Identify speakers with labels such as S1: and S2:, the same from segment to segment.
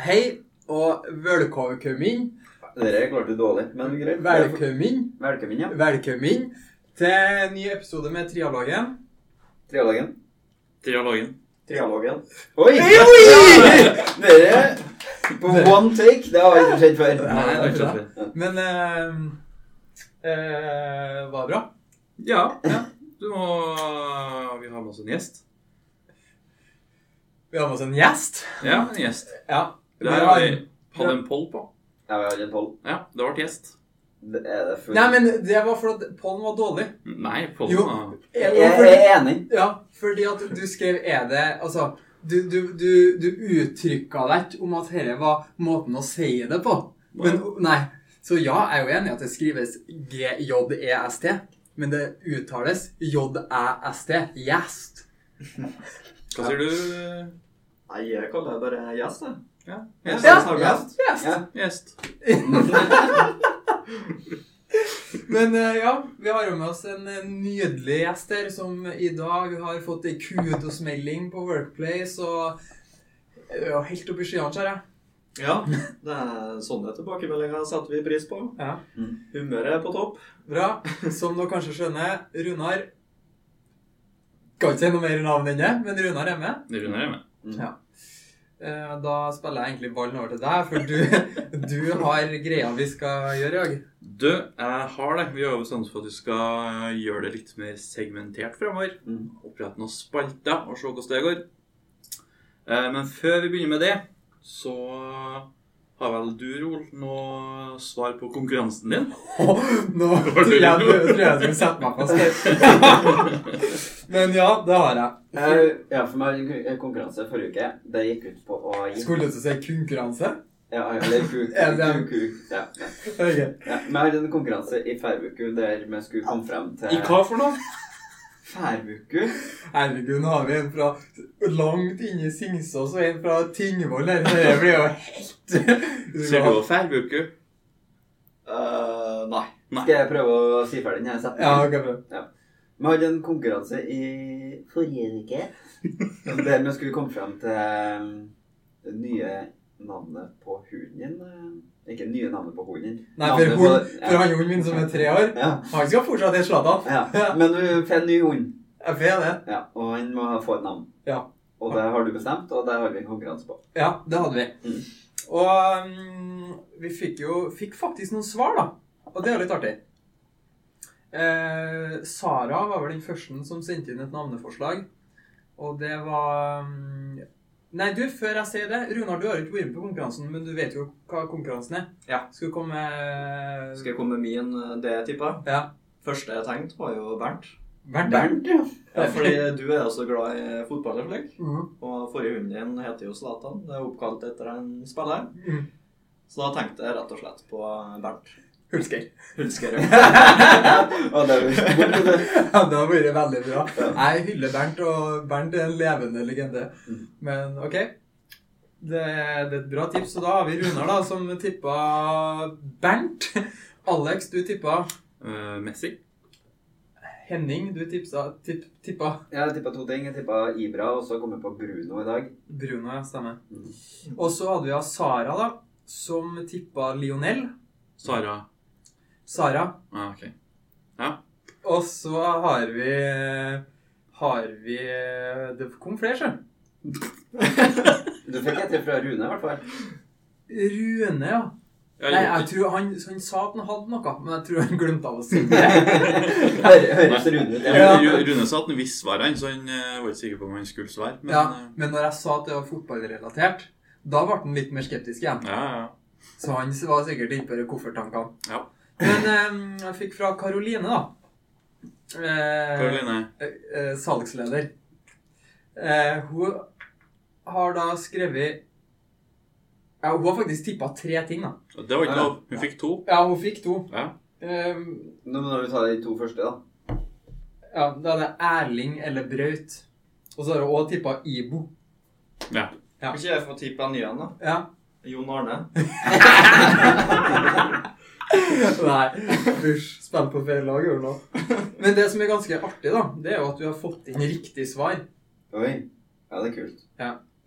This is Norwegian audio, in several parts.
S1: Hei, og velkommen,
S2: Dere klarte det dårlig, men greit.
S1: velkommen,
S2: Velkommen, ja.
S1: velkommen til en ny episode med Trialogen.
S2: Trialogen.
S3: Dialogen.
S2: Trialogen. Oi!
S1: Oi!
S2: Dere, på one take, det har ikke skjedd før.
S1: Nei, det har ikke skjedd
S2: før.
S1: Men eh, eh, var det bra?
S3: Ja. ja. Du må Vi har med oss en gjest.
S1: Vi har med oss en gjest.
S3: Ja, en gjest.
S1: Ja.
S3: Det
S1: vi
S3: her
S1: har-
S3: har vi hatt en poll på.
S2: Ja, vi har en poll.
S3: Ja, det ble gjest.
S2: Det er det full.
S1: Nei, men det var fordi pollen var dårlig.
S3: Nei,
S1: Jo.
S3: pollen ah.
S2: Jeg jeg er enig.
S1: Ja, fordi at du skrev Er det Altså, du, du, du, du uttrykka deg ikke om at dette var måten å si det på. Men nei. Så ja, jeg er jo enig i at det skrives G-J-E-S-T, men det uttales J-E-S-T. Gjest.
S3: Hva sier du?
S4: Nei, jeg kaller det bare gjest, jeg.
S3: Ja.
S4: Jeg
S3: Gjest.
S1: Ja.
S4: synes det er best.
S1: Gjest.
S2: Ja.
S3: Gjest.
S1: Men eh, ja, vi har jo med oss en eh, nydelig gjest her som i dag har fått ei kudos-melding på Workplace og Jeg er jo helt oppi skyene, ser jeg.
S4: Ja, det er sånne tilbakemeldinger setter vi pris på.
S1: Ja.
S4: Humøret er på topp.
S1: Bra. Som dere kanskje skjønner, Runar Skal ikke si noe mer navn enn det, men Runar er med.
S3: Det runder jeg med.
S1: Eh, Da spiller jeg egentlig ballen over til deg, for du, du har greia vi skal gjøre i dag.
S3: Du, jeg har det. Vi har jo bestemt oss for at vi skal eh, gjøre det litt mer segmentert fremover.
S2: Mm.
S3: Opprette noen spalter og se hvordan det går. Eh, Men før vi begynner med det, så har vel du, Rol, noe svar på konkurransen din?
S1: Åh, Nå tror jeg du tror jeg du skulle sette meg fast. Men ja, det har jeg.
S2: Eh, Ja, for meg var det en konkurranse forrige uke. Det gikk ut på å gi
S1: Skulle du til å si konkurranse?
S2: Ja, eller kuk.
S1: Ja, det er-
S2: kuk, kuk. Ja, ja.
S1: Ok.
S2: ja. Men jeg hadde en konkurranse i Færbuku der vi skulle komme frem til
S3: I hva for noe?
S2: Færbuku?
S1: Herregud, nå har vi en fra langt inne i Singsås og en fra Tingvoll her. Det blir jo
S3: Ser du
S1: helt
S3: og færbuke?
S4: Eh, nei.
S2: Skal jeg prøve å si ferdig denne setningen?
S1: Ja, ok, bra.
S2: Vi hadde en konkurranse i forrige uke. Der vi skulle komme frem til um, det nye navnet på hunden din. eh, Ikke nye navnet på hunden din.
S1: Nei, for,
S2: Navnet på-
S1: hun, for han hunden min som er tre år,
S2: ja.
S1: han skal fortsatt hete Zlatan.
S2: Ja. ja. Men du får en ny hund,
S1: Jeg får det.
S2: ja, og han må få et navn.
S1: Ja.
S2: Og det har du bestemt, og det har vi en konkurranse på.
S1: Ja, det hadde vi.
S2: Mm.
S1: Og mm, vi fikk jo fikk faktisk noen svar, da. Og det er jo litt artig. Eh, Sara var vel den første som sendte inn et navneforslag. Og det var mm, Nei, du, før jeg sier det Runar, du har jo ikke vært med på konkurransen, men du vet jo hva konkurransen er.
S4: Ja.
S1: Skal du komme med
S4: Skal jeg komme med min, eh, det jeg tippa?
S1: Ja.
S4: Første jeg tenkte, var jo Bernt.
S1: Bernt. ja.
S2: Bernt, ja.
S4: Ja, fordi du er jo så glad i fotball og slik.
S1: Mhm.
S4: Og forrige hunden din heter jo Zlatan. Det er oppkalt etter en spiller.
S1: Mm.
S4: Så da tenkte jeg rett og slett på Bernt
S1: Hulsker.
S4: Hulskerød.
S2: Og det er jo stort, det.
S1: Ja, det har vært veldig bra. Jeg hyller Bernt, og Bernt er en levende legende.
S2: Mm.
S1: Men OK. Det, det er et bra tips. Og da har vi Runar, da, som tippa Bernt. Alex, du tippa
S3: Eh, Messi.
S1: Henning. Du tipsa, tipp, tippa
S2: Jeg tippa to ting. Jeg tippa Ibra, og så kom jeg på Bruno i dag.
S1: Bruno, ja, stemmer.
S2: Mm.
S1: Og så hadde vi av Sara, da, som tippa Lionel.
S3: Sara.
S1: Sara.
S3: Ah, ok.
S1: Og så har vi Har vi Det kom flere, sjøl.
S2: Du fikk et til fra Rune, i hvert fall.
S1: Rune, ja.
S3: Jeg
S1: Nei,
S3: gjorde
S1: jeg tror han, han sa at han hadde noe, men jeg tror han glemte av å si det.
S2: Hø- Høres Rune ut?
S3: ikke-
S2: Ja.
S3: Ru- Rune sa at han visste svaret, han, så han eh, var ikke sikker på om han skulle svare. Men
S1: Ja,
S3: eh,
S1: men når jeg sa at det var fotballrelatert, da ble han litt mer skeptisk igjen.
S3: ja, ja.
S1: Så han var sikkert inne på de kofferttankene.
S3: Ja.
S1: Men eh, jeg fikk fra Karoline, da. Eh,
S3: Karoline.
S1: eh, eh, salgsleder. Eh, hun har da skrevet ja, Hun har faktisk tippa tre ting, da.
S3: Det var ikke
S2: Ja.
S3: lov. Hun fikk to.
S1: Ja, hun fikk to.
S3: Ja.
S1: Eh,
S2: Nå må vi ta de to første, da.
S1: ja, da er det Erling eller Braut. Og så har hun òg tippa Ibo.
S4: Kan ikke jeg få tippe en ny en, da?
S1: Ja.
S4: Jon Arne.
S1: Nei, hysj. Spill på feil lag, gjør du nå. Men det som er ganske artig, da, det er jo at du har fått inn riktig svar.
S2: Oi. Ja, det er kult.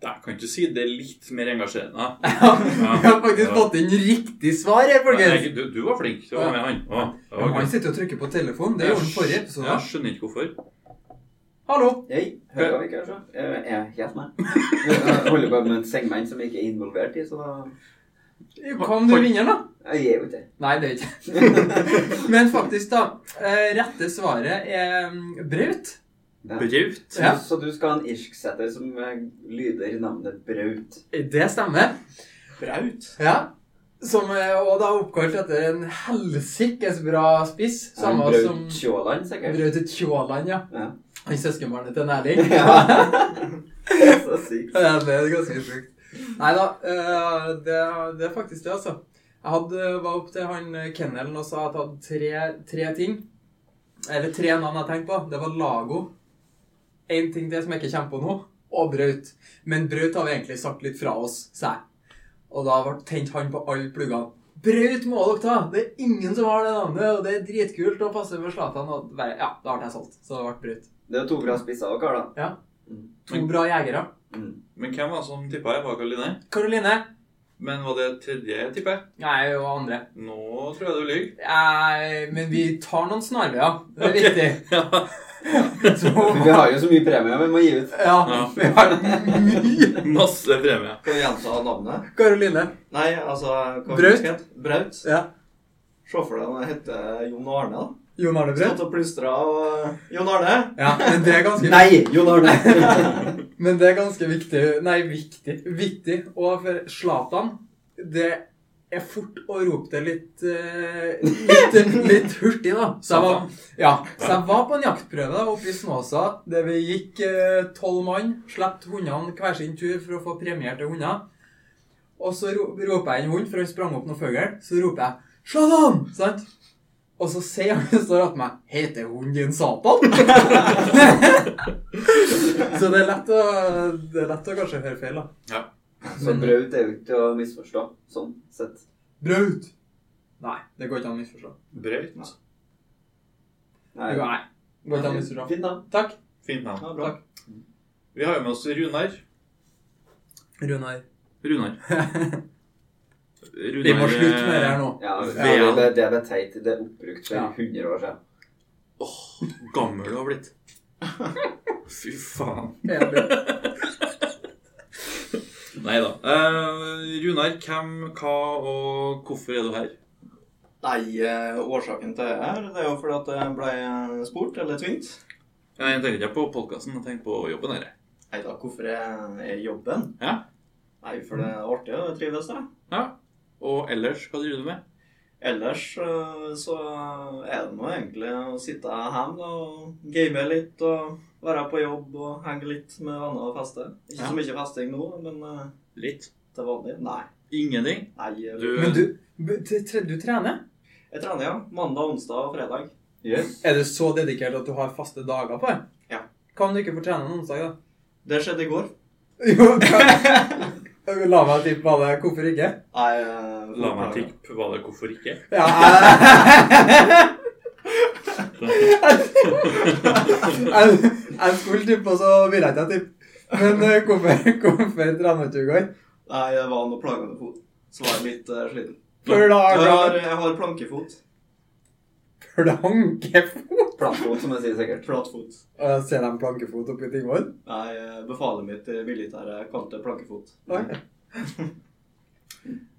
S3: Der kan ikke si det er litt mer engasjerende.
S1: Vi har faktisk fått inn riktig svar her, folkens.
S3: Nei, du, du var flink til å være med han. Å, det var
S1: Han
S3: gøy.
S1: sitter og trykker på telefonen. Det gjorde han forrige episode.
S3: Jeg skjønner ikke hvorfor.
S1: Hallo.
S2: Hei, hører vi kanskje? Jeg er helt med. Jeg holder på med et segment som jeg ikke er involvert i, så da...
S1: Kom du vinner, da?
S2: Jeg er jo ikke det.
S1: Nei, det er ikke Men faktisk, da. eh, Rette svaret er mm, braut.
S2: Ja.
S3: Braut.
S2: Så,
S1: Ja.
S2: så du skal ha en irsksetter som eh, lyder navnet Braut.
S1: Det stemmer.
S4: Braut.
S1: Ja. Som er og da oppkalt etter en helsikes bra spiss. Samme
S2: Braut
S1: som
S2: Tjåland, sikkert.
S1: Braut Tjåland, ja.
S2: Ja.
S1: Han søskenbarnet til Erling.
S2: Ja. så sykt.
S1: Ja, det er ganske sjukt. Nei da, eh, det, det er faktisk det, altså. Jeg hadde, var opp til han eh, kennelen og sa at jeg hadde tre, tre ting. Eller tre navn jeg tenkte på. Det var Lago. Én ting til som jeg ikke kommer på nå. Og Braut. Men Braut har vi egentlig sagt litt fra oss, sa jeg. Og da ble- tente han på alle pluggene. Braut må dere ta! Det er ingen som har det navnet, og det er dritkult og passer for Zlatan. Og bare, ja, da ble jeg solgt. Så det ble Braut.
S2: Det er to bra spisser og kar, da.
S1: To bra jegere.
S2: Mm.
S3: Men hvem var det som tippa jeg? Var Karoline?
S1: Karoline.
S3: Men var det tredje jeg tippa?
S1: Nei, og andre.
S3: Nå tror jeg du lyver.
S1: Eh, men vi tar noen snarveier. Det er viktig. Så,
S2: Vi har jo så mye premier vi må gi ut.
S1: ja,
S3: Ja.
S1: vi har mye.
S3: Masse premie.
S4: Skal vi gjenta navnet?
S1: Karoline.
S4: Nei, altså hva
S1: Braut.
S4: het det? Braut.
S1: Ja.
S4: Se for deg om jeg heter Jon Arne. da.
S1: Jon Arne Braut.
S4: Stått og plystra og eh, Jon Arne!
S1: Ja, men det er ganske
S2: Nei, Jon Arne!
S1: Men det er ganske viktig Nei, viktig. Viktig. Og for Zlatan Det er fort å rope det litt eh, litt, litt hurtig, da. Så jeg var, ja, så jeg var på en jaktprøve da, oppe i Snåsa, der vi gikk eh, tolv mann, slapp hundene hver sin tur for å få premierte hunder. Og så ro, roper jeg en hund, for han sprang opp noen fugl. Så roper jeg 'Zlatan!' sant? Og så sier han som står attmed meg 'Heter hunden din Satan?' Så det er lett å, det er lett å kanskje høre feil, da.
S2: Så Braut er jo ikke til å misforstå, sånn sett.
S1: Braut! Nei, det går ikke an å misforstå.
S3: Braut.
S2: Nei.
S1: Jo, Nei, det går ikke an å misforstå.
S2: Fint navn.
S1: Takk.
S3: Fint navn.
S4: Ja, bra.
S3: Vi har jo med oss Runar.
S1: Runar.
S3: Runar.
S1: Vi må slutte med det her nå.
S2: Ja, ja,
S3: Vean.
S2: det, det er teit. Det er oppbrukt for
S1: Ja.
S2: 100 år siden.
S3: Åh, eh, gammel du har blitt. Fy faen.
S1: Enig.
S3: Nei da. Eh, Runar, hvem, hva og hvorfor er du her?
S4: Nei, eh, årsaken til det her, det er jo fordi at jeg ble spurt, eller tvunget.
S3: Nei, Jeg tenker ikke på podkasten, jeg tenker på jobben her. jeg.
S4: Nei da, hvorfor jeg er i jobben?
S3: Ja.
S4: Nei, for det er artig og jeg trives det.
S3: Ja. Og ellers, hva driver du med?
S4: Ellers eh, så er det nå egentlig å sitte hjemme da, og game litt og være på jobb og henge litt med venner og feste. Ikke
S3: Ja.
S4: så mye festing nå, men eh,
S3: Litt.
S4: til vanlig. Nei.
S3: Ingenting.
S4: Nei. eh,
S3: Du-
S1: Men du, b- t- tre- du trener?
S4: Jeg trener, ja. Mandag, onsdag og fredag.
S2: Yes.
S1: Er du så dedikert at du har faste dager på det?
S4: Ja.
S1: Kan du ikke få trene en onsdag, da?
S4: Det skjedde i går.
S1: Jo, kan- La meg tippe på det. Hvorfor ikke?
S4: Nei, eh,
S3: La meg tippe hva det er, hvorfor ikke.
S1: Ja. Jeg, jeg, jeg skulle tippe, og så ville jeg ikke tippe. Men eh, hvorfor, hvorfor trener du ikke i går?
S4: Nei, jeg var nå plaga med fot. Så var jeg litt eh, sliten.
S1: For
S3: Ah,
S1: da
S4: Jeg har,
S1: har
S4: jeg har plankefot.
S1: plankefot.
S2: Plattfot, som jeg sier sikkert.
S4: Flatfot.
S1: Og jeg ser de plankefot oppi Tingvoll?
S4: Nei, eh, befalet mitt i militæret kalte det plankefot.
S1: Oi.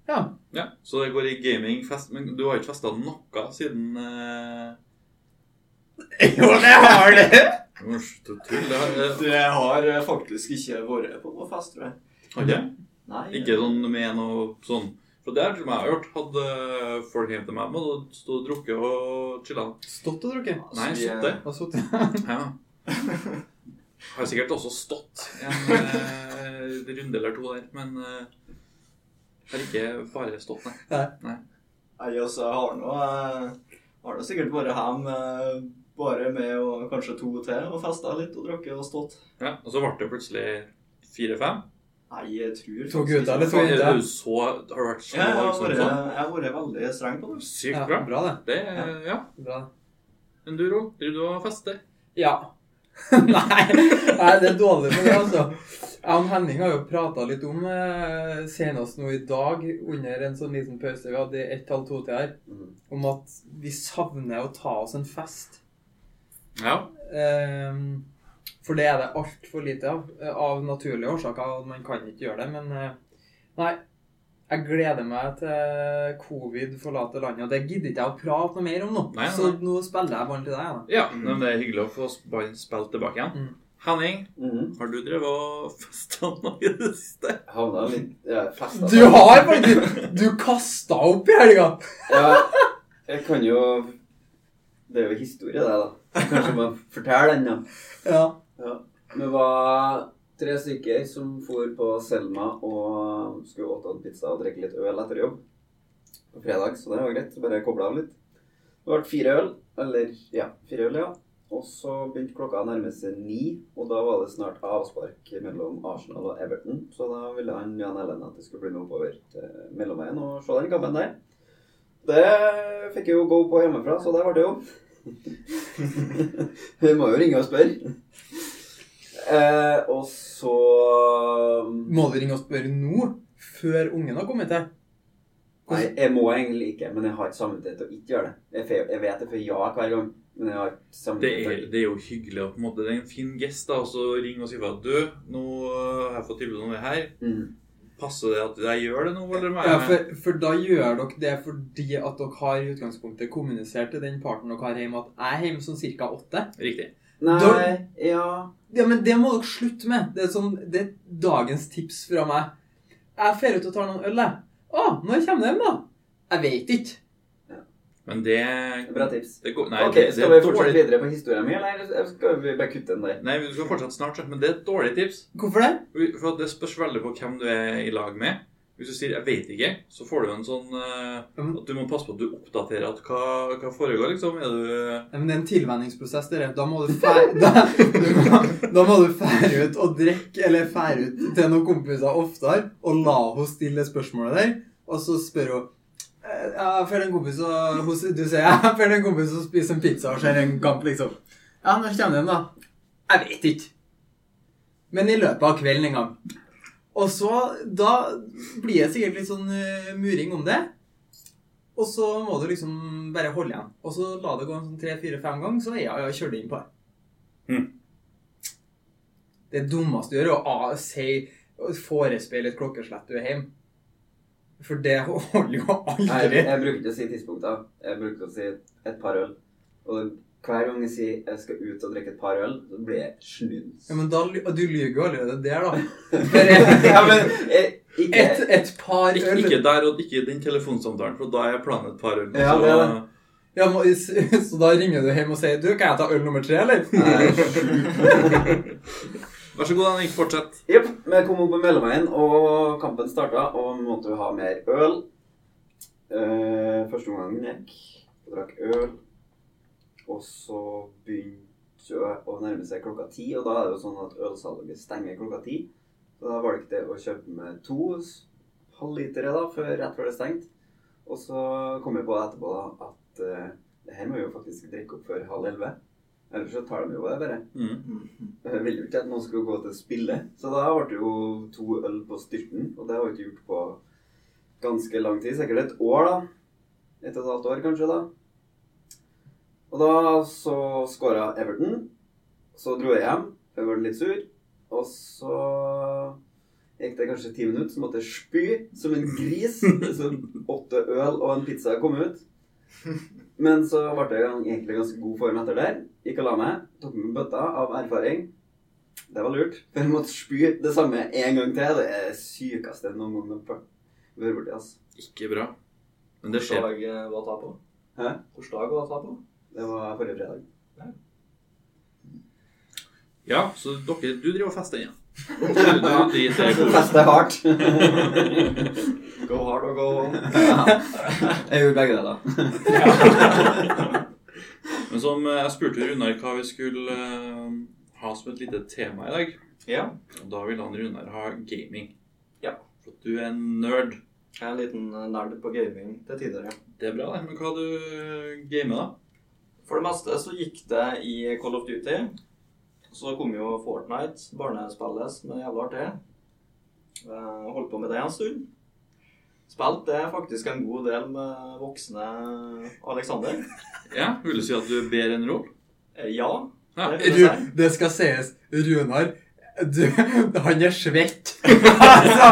S1: Ja.
S3: Ja, Så det går i gaming, fest Men du har jo ikke festa noe siden eh...
S1: Jo, det har det!
S3: Du må slutte å tulle. Det har eh,
S4: Det har eh, faktisk ikke vært på noe fest, tror jeg.
S3: har jeg.
S4: Nei,
S3: Ikke sånn med noe sånn For det er til meg jeg har hørt. Hadde folk hjem til meg med og stå og drukket og chilla.
S1: Stått og drukket.
S4: altså,
S3: Nei,
S4: vi, eh,
S3: sittet.
S1: Og sittet.
S3: Ja. Har sikkert også stått en eh, runde eller to der, men eh, har ikke bare stått, nei.
S4: Nei, altså, jeg har nå eh, har nå sikkert vært hjem eh, bare med og kanskje to til og festa litt og drukket og stått.
S3: Ja, og så ble det plutselig fire-fem.
S4: Nei, jeg tror
S1: To gutter, eller to
S3: Er
S1: jenter?
S3: du så Har du vært så
S4: Ja, jeg har
S3: liksom
S4: vært-
S3: sånn?
S4: jeg har vært veldig streng på det.
S3: Sykt
S1: Ja,
S3: bra.
S1: bra, det.
S3: Det er, ja.
S1: Bra.
S3: Enduro. Driver du og fester?
S1: Ja. Nei. Nei, det er dårlig for det, altså. Jeg og Henning har jo prata litt om eh, senest nå i dag, under en sånn liten pause vi hadde i ett halv to til her,
S2: Mm.
S1: om at vi savner å ta oss en fest.
S3: Ja.
S1: Ehm, for det er det altfor lite av. eh, Av naturlige årsaker. og Man kan ikke gjøre det. Men eh, nei, jeg gleder meg til covid forlater landet. Og det gidder ikke jeg å prate noe mer om nå.
S3: Nei, nei,
S1: Så nå spiller jeg ballen til deg. Da.
S3: ja. Mm. Men det er hyggelig å få ballen spilt tilbake igjen.
S1: Mm.
S3: Henning,
S2: Mm.
S3: har du drevet og festa noe i det siste?
S2: Havna litt ja, festa
S1: Du har faktisk Du kasta opp i helga!
S2: Ja, jeg kan jo Det er jo historie, det, da. Kanskje man forteller den, da.
S1: Ja.
S2: Ja. Vi var tre stykker som for på Selma og skulle åte en pizza og drikke litt øl etter jobb. På fredag, så det var greit. Så bare kobla av litt. Det ble fire øl. Eller ja, fire øl, ja. Og så begynte klokka å nærme seg ni, og da var det snart avspark mellom Arsenal og Everton. Så da ville han Jan Ellen at det skulle bli med oppover til mellomveien og se den kampen der. Det fikk jeg jo go på hjemmefra, så det ble det jo. Hun må jo ringe og spørre. Eh, og så
S1: Må du ringe og spørre nå? Før ungen har kommet til?
S2: Nei, jeg må egentlig ikke, men jeg har ikke samvittighet til å ikke gjøre det. Jeg, fe- jeg vet det får ja hver gang, men jeg har ikke
S3: Det
S2: samvittighet
S3: er,
S2: til å
S3: det er jo hyggelig å på en måte, det er en fin gest da, og så ringe og si fra du, nå har jeg fått tilbud om det her.
S2: Mm.
S3: Passer det at jeg gjør det nå, eller må jeg-
S1: Ja, for, for da gjør dere det fordi at dere har i utgangspunktet kommunisert til den parten dere har hjemme, at jeg er hjemme sånn ca. åtte.
S3: Riktig.
S2: Nei,
S1: Da-
S2: ja
S1: Ja, men det må dere slutte med. Det er, sånn, det er dagens tips fra meg. Jeg drar ut og tar noen øl, jeg. Å, når kommer du hjem, da? Jeg veit ikke.
S3: Men det,
S2: Bra tips.
S3: det går, nei,
S2: ok,
S3: det, det
S2: Skal
S3: er
S2: vi fortsette
S3: dårlig.
S2: videre på historien min, eller skal vi bare kutte den der?
S3: Nei, du skal fortsette snart, så, men det er et dårlig tips.
S1: Hvorfor det?
S3: For at det spørs veldig på hvem du er i lag med. Hvis du sier 'jeg vet ikke', så får du en sånn eh,
S1: Mhm.
S3: At du må passe på at du oppdaterer at hva, hva foregår, liksom. Er du
S1: Nei, men det er en tilvenningsprosess, dere. Da må du fære, da, du må, da må du fære ut og drikke, eller fære ut til noen kompiser oftere, og la henne stille det spørsmålet der, og så spør hun «Eh, ja, for en kompis og, hos, Du sier ja, for en kompis som spiser en pizza og ser en kamp, liksom. Ja, når kommer den, da? Jeg vet ikke. Men i løpet av kvelden en gang. Og så Da blir det sikkert litt sånn eh, muring om det. Og så må du liksom bare holde igjen. Og så la det gå en sånn tre-fire-fem ganger, så er jeg kjørt inn på det.
S3: Mhm.
S1: Det dummeste du gjør, er å a- si forespeile et klokkeslett du er hjemme. For det holder jo
S2: Nei, jeg,
S1: aldri.
S2: jeg bruker ikke å si tidspunkter. Jeg bruker å si et par øl. Og hver gang jeg sier jeg skal ut og drikke et par øl, så blir jeg snus.
S1: Ja, men da, ly- Du lyver jo allerede der, da. For
S2: ja, men jeg, ikke,
S1: et, et par
S3: ikke,
S1: øl
S3: ikke der og ikke i den telefonsamtalen, for da er planen et par øl.
S2: Ja,
S3: så-
S2: det er det.
S1: ja, må, Så da ringer du hjem og sier Du, kan jeg ta øl nummer tre, eller?
S3: Vær så god, Henning. Fortsett.
S2: Jepp. Vi kom opp på mellomveien, og kampen starta, og vi måtte jo ha mer øl. Eh, første omgangen gikk, og drakk øl. Og så begynte jo jeg å nærme seg klokka ti, og da er det jo sånn at ølsalget stenger klokka ti. Så da valgte jeg å kjøpe med to s- halvlitere da, før, rett før det stengte. Og så kom jeg på etterpå da, at eh, det her må vi jo faktisk drikke opp før halv elleve. Ellers så tar de jo det bare.
S3: Mm.
S2: Jeg ville jo ikke at noen skulle gå til spille, så da ble det jo to øl på styrten. Og det har jeg ikke gjort på ganske lang tid. Sikkert et år, da. Et og et halvt år, kanskje, da. Og da så skåra Everton. Så dro jeg hjem. Jeg ble litt sur. Og så gikk det kanskje ti minutter, så måtte jeg spy som en gris. Så åtte øl og en pizza kom ut. Men så ble jeg egentlig i ganske god form etter der. Gikk og la meg. Tok med bøtta av erfaring. Det var lurt. For jeg måtte spy det samme en gang til. Det er det sykeste jeg noen gang har vært borti. Altså.
S3: Ikke bra. Men det skjer.
S4: Hvilken dag eh, var ta på?
S2: Hæ?
S4: Hvilken dag var ta på?
S2: Det var forrige fredag.
S3: Ja, så dere, du driver og fester igjen. Du, du driter i hvor-
S2: Feste hardt. go hard og go home. Ja. Jeg gjorde begge deler.
S3: Men som eh, jeg spurte Runar hva vi skulle eh, ha som et lite tema i dag,
S4: Ja.
S3: og da ville han Runar ha gaming.
S4: Ja.
S3: For at du er en nerd.
S4: Jeg er en liten eh, nerd på gaming til tider, ja.
S3: Det er bra, det. Men hva du gamer, da?
S4: For det meste så gikk det i Call of Duty. Så kom jo Fortnite, barnespillet som er jævlig artig. Eh, Holdt på med det en stund. Spilte det faktisk en god del med voksne Alexander.
S3: Ja, Vil du si at du er bedre enn Rolf?
S4: Eh, Ja,
S3: Ja.
S4: det vil
S1: Ru,
S4: jeg si.
S1: det skal sies. Runar du, Han er svett. altså,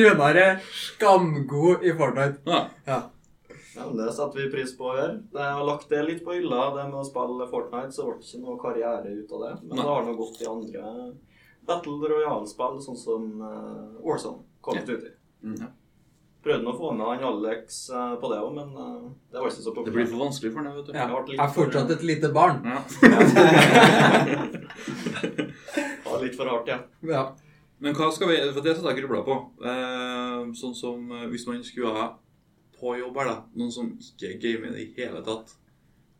S1: Runar er skamgod i Fortnite.
S3: Ja.
S4: Ja, men det setter vi pris på å gjøre. Jeg har lagt det litt på hylla, det med å spille Fortnite, så det ble ikke noe karriere ut av det. Men
S3: Nei.
S4: det har nå gått i andre Battle Royale-spill, sånn som uh, Warzone kom
S3: Ja.
S4: ut i.
S2: Mm.
S4: Prøvde nå å få med han Alex eh, på det òg, men eh, det var ikke så
S3: Det blir
S4: populært.
S3: for vanskelig for ham, vet du.
S1: Ja. Jeg er fortsatt et lite barn.
S3: Ja.
S4: Det var litt for hardt, ja.
S1: Ja.
S3: Men hva skal vi For det satt jeg og grubla på. Eh, sånn som eh, hvis man skulle ha på jobb her, da. Noen som ikke gamer i det hele tatt.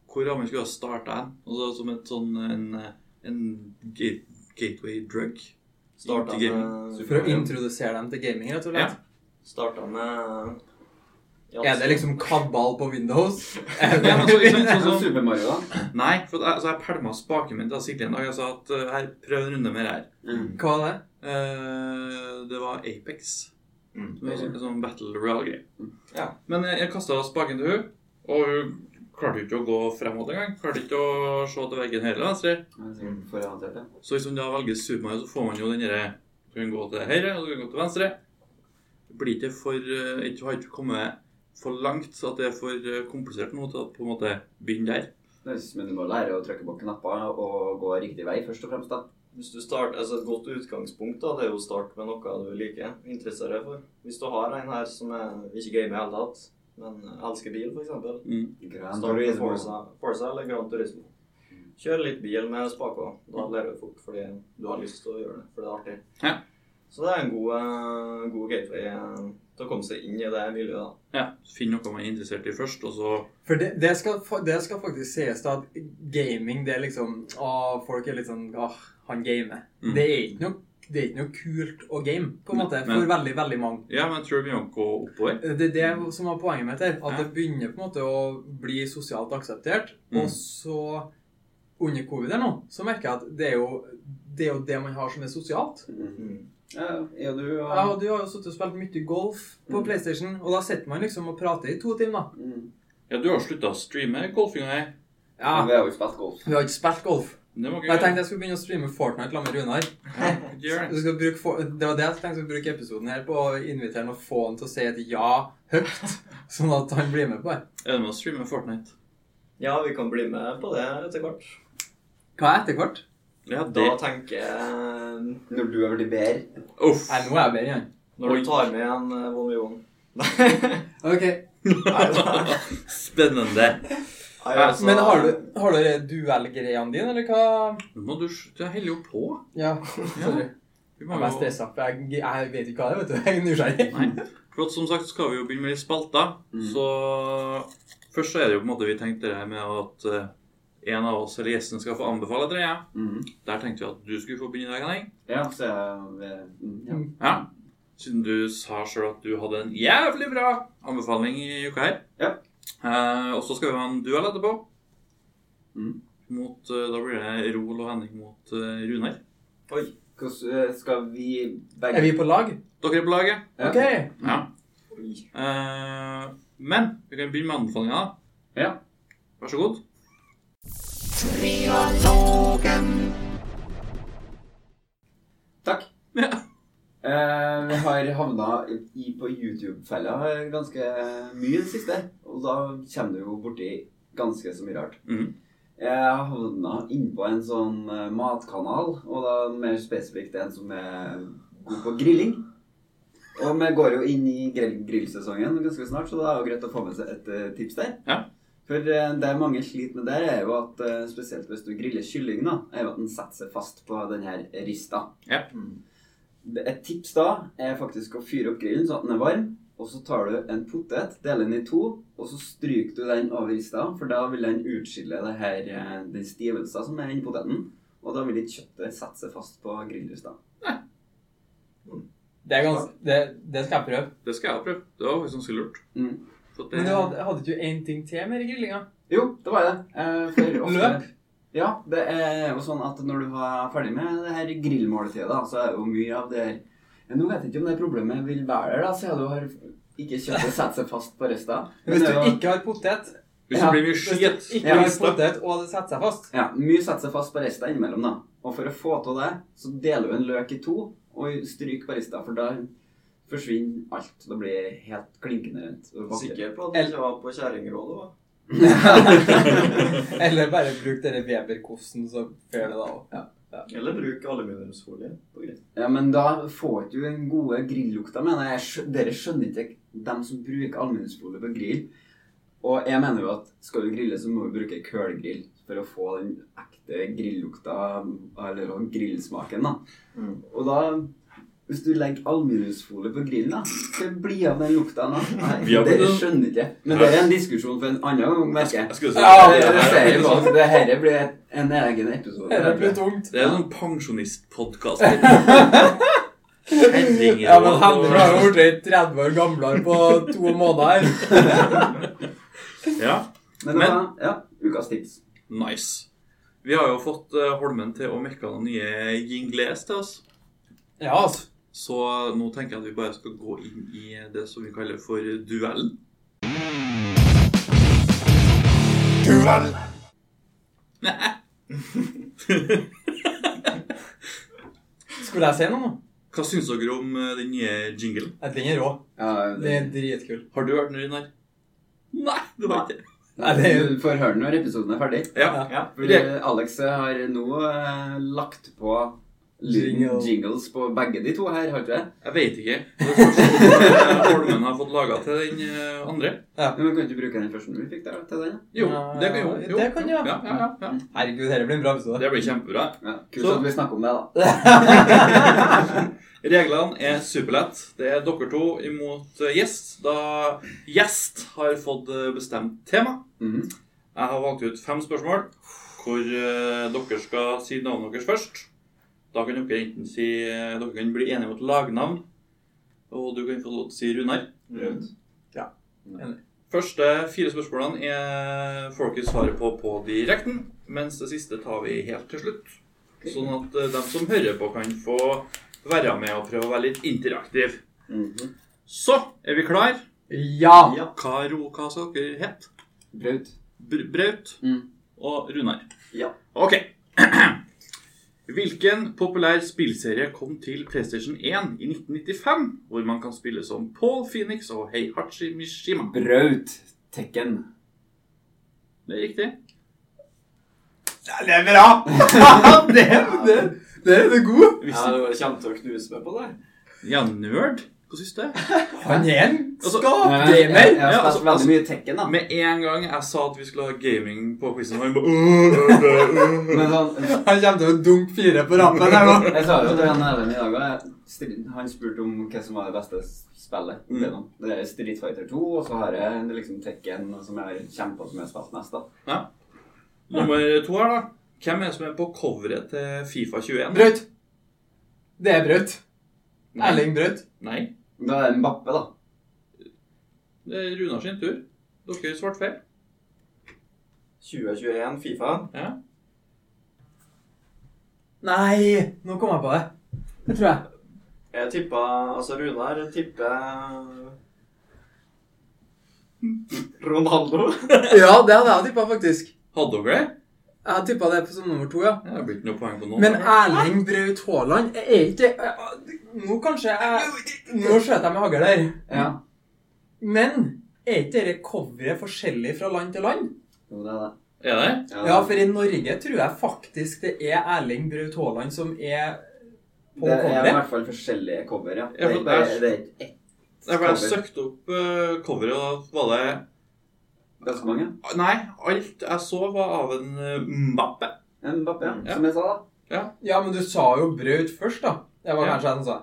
S3: Hvor har man skulle ha starta hen? Altså som et sånn en, eh, en ga- gateway drug?
S4: Starta
S3: Til gaming.
S4: med,
S1: For å introdusere dem til gaming, rett og slett.
S4: starta med ja,
S1: Er det liksom kabal på Windows?
S3: Ja, men altså, ikke sant, sånn
S2: Så
S3: som-
S2: Super Mario, da.
S3: Nei, for jeg, altså, jeg pælma spaken min til Silje en dag. Jeg sa at eh, her, prøv en runde mer her.
S2: Mm.
S1: Hva var det?
S3: Eh, det var Apex.
S4: Mm.
S3: Det var sånn, sånn Battle Royale-greie.
S4: Ja.
S3: Men eh, jeg, jeg kasta spaken til hun, og hun klarte jo ikke å gå fremover engang. Klarte ikke å se til veggen høyre eller venstre.
S2: For jeg hadde det.
S3: Så hvis man da velger Super Mario, så får man jo den derre Du kan gå til høyre, og du kan gå til venstre. Det blir ikke for eh, ikke, Har ikke kommet for langt så at det er for eh, komplisert nå til å på en måte begynne der.
S2: Det høres ut som du må lære å trykke på knapper og gå riktig vei, først og fremst. da.
S4: Hvis du start, altså Et godt utgangspunkt da, det er jo å starte med noe du liker, interesserer deg for. Hvis du har en her som er, ikke gamer i det hele tatt, men elsker bil, f.eks.
S3: Mm.
S2: Grand
S4: Start med
S2: Turismo.
S4: Forza, Forza eller Gran Turismo. Kjør litt bil med spaker. Da lærer du fort fordi du har lyst til å gjøre det, for det er artig.
S3: Ja.
S4: Så det er en god, eh, god gateway eh, til å komme seg inn i det miljøet. da.
S3: Ja, Finn noe man er interessert i først, og så
S1: For det, det, skal, fa- det skal faktisk sies da at gaming, det er liksom Å, folk er litt sånn Åh, han gamer.
S3: Mm.
S1: Det, er ikke noe, det er ikke noe kult å game, på en måte,
S3: Nei,
S1: for
S3: men-
S1: veldig, veldig mange.
S3: Ja, men jeg tror vi må gå oppover.
S1: Det er det som var poenget mitt her. At
S3: Mm. Ja.
S1: det begynner på en måte å bli sosialt akseptert.
S3: Mm.
S1: Og så, under covid her nå, så merker jeg at det er, jo, det er jo det man har som er sosialt.
S2: Mm. Ja, ja, du og
S1: Ja, og Du har jo sittet og spilt mye golf på
S2: Mm.
S1: PlayStation, og da sitter man liksom og prater i to timer.
S2: mm.
S3: Ja, du har slutta å streame golfinga, jeg.
S1: Ja,
S2: Men Vi har jo spilt golf.
S1: Vi har ikke spilt golf.
S3: Det må
S1: Men jeg tenkte jeg skulle begynne å streame Fortnite sammen med Runar.
S3: ikke gjøre.
S1: Du skal bruke for... Det var det jeg tenkte jeg skulle bruke episoden her på å invitere han og få han til å si et ja høyt, sånn at han blir med på det.
S3: Er det med å streame Fortnite?
S4: Ja, vi kan bli med på det etter hvert.
S1: Hva er etterkort?
S3: Ja,
S4: Da
S3: det
S4: tenker jeg eh,
S2: Når du har blitt bedre.
S3: Uff.
S1: Nei, nå er jeg bedre igjen.
S4: Når
S3: Oi.
S4: du tar med en eh, Von Johan. Nei,
S1: Ok,
S4: da-
S3: Spennende.
S4: Nei, altså,
S1: Men har du, har du duellgreiene dine, eller hva?
S3: Nå må du sl- Jeg holder jo på.
S1: Ja,
S3: Ja,
S1: sorry.
S3: vi
S1: Jeg
S3: må
S1: er
S3: jo...
S1: stressa, for jeg, jeg vet ikke hva det er, vet du. Jeg er nysgjerrig.
S3: Nei. For at, som sagt skal vi jo begynne med litt spalter.
S2: Mm.
S3: Så først så er det jo på en måte vi tenkte det her med at eh, en av oss eller gjestene skal få anbefale et greie.
S2: Mm.
S3: Der tenkte vi at du skulle få begynne i dag, Henning.
S2: Ja, så jeg mm, ja.
S3: Ja. Siden du sa sjøl at du hadde en jævlig bra anbefaling i uka her.
S2: Ja.
S3: Eh, og så skal vi ha en duell etterpå.
S2: Mm.
S3: Mot, eh, da blir det Rol og Henning mot eh, Runar.
S2: Hvordan eh, skal vi
S1: Er
S2: begge
S1: vi på lag?
S3: Dere er på laget.
S2: Ja.
S1: Ok.
S3: Ja.
S4: Oi.
S3: Eh, men vi kan begynne med anbefalinga. da.
S2: Ja.
S3: Vær så god.
S2: Takk.
S3: Ja.
S2: Eh, vi har havna i, på YouTube-fella ganske mye i det siste. Og da kommer du jo borti ganske så mye rart.
S3: Mhm.
S2: Jeg havna innpå en sånn eh, matkanal, og da mer spesifikt en som er god på grilling. Og vi går jo inn i grill grillsesongen ganske snart, så det er jo greit å få med seg et eh, tips der.
S3: Ja.
S2: For eh, det mange sliter med der, er jo at eh, spesielt hvis du griller kylling, da, er jo at den setter seg fast på den her rista.
S4: Mm.
S2: Et tips da er faktisk å fyre opp grillen så at den er varm. Og så tar du en potet, deler den i to, og så stryker du den over rista. For da vil den utskille det her, eh, den stivelsen som er inni poteten. Og da vil ikke kjøttet sette seg fast på grillrista.
S1: Det, er gans... det, det skal jeg prøve.
S3: Det skal jeg prøve. Det var faktisk ganske lurt.
S2: Mm.
S3: For at det-
S1: Men du hadde, hadde ikke du en ting til med grillinga?
S2: Jo, det var det. Eh, for ofte-
S1: Løp?
S2: Ja, det er jo sånn at når du var ferdig med det her grillmåltidet, da, så er det jo mye av det her Men Nå vet jeg ikke om det problemet vil være der, da, siden du har ikke kjøttet satt seg fast på resta. Men
S1: Hvis
S2: det
S1: du
S2: er jo-
S1: ikke har potet
S2: Ja,
S3: Hvis det blir mye
S1: Hvis du
S3: skit
S1: ikke har
S2: Ja.
S1: potet, og det setter seg fast
S2: Ja, mye setter seg fast på resta innimellom, da. Og for å få til det, så deler du en løk i to og stryker på resta, for da forsvinner alt. Da blir det helt klinkende rent. og vakkert.
S4: Sikker på at du ikke var på kjerringrådet? da?
S1: Eller bare bruk denne Weber-kosten, så gjør det da òg.
S4: Eller bruk aluminiumsfolie på grill.
S2: Ja, men da får du ikke den gode grillukta, mener jeg. Skjø- Dere skjønner ikke dem som bruker aluminiumsfolie på grill. Og jeg mener jo at skal du grille, så må du bruke kullgrill for å få den ekte grillukta, eller sånn grillsmaken, da.
S4: Mm.
S2: Og da hvis du legger aluminiumsfolie på grillen, da, så blir det av den lukta. da. Nei,
S3: Vi har blitt
S2: dere
S3: noe-
S2: skjønner ikke. Men det er en diskusjon for en annen gang, merker jeg.
S3: Jeg skulle si
S1: Ja,
S2: Det- det ser jeg på.
S3: det.
S2: Det her blir en egen episode.
S1: Det blir tungt.
S3: Det er en sånn pensjonistpodkast. Kjerringer
S1: Ja, men
S3: og-
S1: Henrik har jo blitt 30 år gamlere på to måneder.
S3: Ja,
S2: Men, det
S3: Men-
S2: var, ja, ukas tips.
S3: nice. Vi har jo fått eh, Holmen til å mekke noen nye jingles til oss.
S1: Ja, altså.
S3: Så nå tenker jeg at vi bare skal gå inn i det som vi kaller for duellen. Duell!
S1: Skulle jeg si noe nå?
S3: Hva syns dere om eh, den nye jinglen?
S1: Jeg Den er rå.
S2: Ja,
S1: Den er dritkul.
S3: Har du hørt den, Runar? Nei, du har ikke.
S1: Nei, det er jo-
S2: Du får høre den når episoden er ferdig.
S3: Ja.
S2: Fordi Alex har nå eh, lagt på lyden
S1: Jingle.
S2: jingles på begge de to her, har du det?
S3: Jeg veit ikke. Det er fortsatt, eh, Holmen har fått laga til den eh, andre.
S2: Ja, men Kan du ikke bruke den første vi fikk der, til den? da?
S3: Jo, det kan jo. jo.
S1: Det kan jo.
S3: Ja, ja, ja, ja.
S1: Herregud, dette blir en bra episode.
S3: Det blir kjempebra.
S2: Ja, Kult
S3: Så-
S2: at vi snakker om det, da.
S3: Reglene er superlett. Det er dere to imot eh, gjest. Da gjest har fått eh, bestemt tema.
S2: Mhm.
S3: Jeg har valgt ut fem spørsmål hvor eh, dere skal si navnet deres først. Da kan dere enten si eh, Dere kan bli enige om et lagnavn, og du kan få lov til å si Runar.
S4: Rødt.
S3: Første fire spørsmålene er får dere svaret på på direkten, mens det siste tar vi helt til slutt. Sånn at eh, de som hører på, kan få være med og prøve å være litt interaktiv.
S2: Mhm.
S3: Så er vi klar.
S1: Ja!
S4: Ja.
S3: Hva, ro, hva skal dere hete?
S2: Braut.
S3: Br Braut
S2: Mm.
S3: og Runar.
S4: Ja.
S3: Ok. Hvilken populær spillserie kom til PlayStation 1 i 1995, hvor man kan spille som Paul Phoenix og Heihachi Mishima?
S2: Braut. Tekken.
S3: Det er riktig.
S1: Det er bra! det, det, det er god.
S4: Ja, du kommer til å knuse meg på det.
S3: Ja, nerd? Hva syns du?
S1: Han er en
S3: Altså,
S2: Jeg, jeg,
S1: skapgamer.
S2: har
S3: Ja,
S2: spilt
S3: altså-
S2: veldig mye Tekken, da.
S3: Med en gang jeg sa at vi skulle ha gaming på quizen, var han bare «Øh, øh, øh, øh».
S2: Men sånn,
S1: Han kommer til å dunke fire på rappen her nå.
S2: jeg sa jo til han Even i dag og jeg stri- Han spurte om hva som var det beste spillet.
S3: Mm.
S2: Det, nå. det er Street Fighter 2, og så har jeg liksom Tekken, som jeg har kjempa som jeg har spilt mest, da.
S3: Nummer to her, da. Hvem er det som er på coveret til Fifa 21?
S1: Braut. Det er Braut.
S3: Nei.
S1: Erling Braut.
S3: Nei.
S2: Da er det Mbappe, da.
S3: Det er Runar sin tur. Dere svarte feil.
S4: 2021 Fifa.
S3: Ja.
S1: Nei, nå kom jeg på det. Det tror jeg.
S4: Jeg tippa Altså, Runar tipper Ronaldo.
S1: Ja, det hadde jeg tippa, faktisk.
S3: Hadde dere det?
S1: Jeg hadde tippa det på som nummer to, ja.
S3: Ja, Det blir ikke noe poeng på noen.
S1: Men Erling Braut Haaland er ikke Nå kanskje jeg Nå skjøt jeg med hagl der.
S2: Ja.
S1: Men er ikke dette coveret forskjellig fra land til land?
S2: Jo, det er det.
S3: Er det?
S1: Ja, for i Norge tror jeg faktisk det er Erling Braut Haaland som er på
S2: det er i
S1: coveret.
S2: hvert fall forskjellige cover, ja. Det
S3: Ja,
S2: er
S3: for
S2: ikke bare
S3: det er-
S2: det er ikke ett
S3: Det er fordi jeg
S2: cover.
S3: søkte opp eh, coveret, og da var det
S2: Ganske mange.
S3: Nei, alt jeg så, var av en eh, Mbappe.
S2: Ja, Mbappé, ja.
S4: Mm.
S3: Ja.
S2: som jeg sa, da.
S1: Ja, men du sa jo Braut først, da. Det var kanskje jeg som sa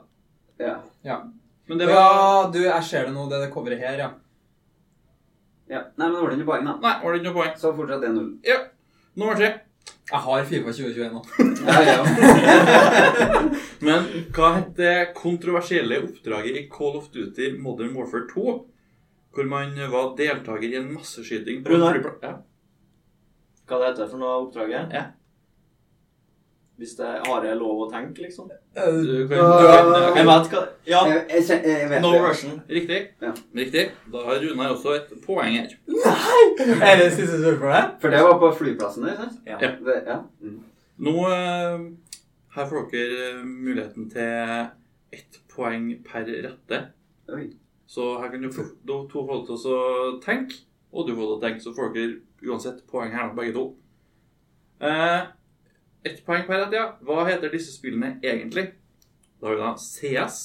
S1: det.
S2: Ja.
S3: Men det var
S1: Ja, du, jeg ser det nå. Det er det coveret her, ja.
S2: ja. Nei, men det ble ikke poeng, da.
S3: Nei, var det ikke noe poeng?
S2: Så fortsatt 1-0.
S3: Nummer tre.
S1: Jeg har Fifa 2021 nå.
S2: Ja, ja.
S3: Men hva het det kontroversielle oppdraget i Call of Duty Modern Warfare 2? Hvor man var deltaker i en masseskyting på en
S4: Runar.
S3: flyplass ja.
S4: Hva det heter for noe av oppdraget?
S3: Ja.
S4: Hvis det har jeg lov å tenke, liksom?
S3: Du kan,
S2: Ja.
S3: du kan,
S4: Jeg vet hva Ja,
S2: Jeg, jeg, kjen- jeg vet
S4: no
S2: det.
S4: version.
S3: Riktig.
S2: Ja.
S3: Riktig. Da har Runar også et poeng her.
S1: Er det siste spørsmålet?
S2: For det var på flyplassen der, sant?
S4: Ja.
S2: Det, ja. Mm.
S3: Nå eh, Her får dere eh, muligheten til ett poeng per rette.
S2: Oi.
S3: Så her kan du få da to folk til å tenke, og du får til å tenke. Så får dere uansett poeng her, nå, begge to. Eh, ett poeng per rette, ja. Hva heter disse spillene egentlig? Da har vi da CS.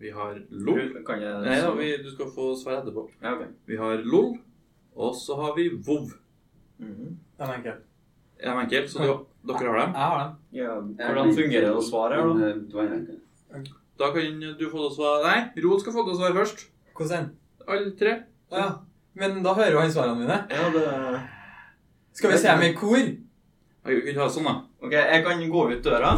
S3: Vi har LOL.
S4: Kan jeg
S3: Nei, da, vi, du skal få svar etterpå.
S4: Ja, ok.
S3: Vi har LOL, og så har vi WoW.
S4: Mhm.
S1: Den er enkel.
S3: Er de enkelt, så dere, dere har dem.
S1: Jeg har den.
S4: ja, hvordan fungerer det å svare her, da?
S2: Men, eh, det var en enkel.
S3: Da kan du få til å svare Nei, Rod skal få til å svare først.
S1: Hvordan?
S3: Alle tre.
S1: Ja. Men da hører jo han svarene mine.
S4: Ja, det...
S1: Skal vi se med kor?
S3: Jeg kan ikke ha det sånn, da.
S4: Ok, jeg kan gå ut døra.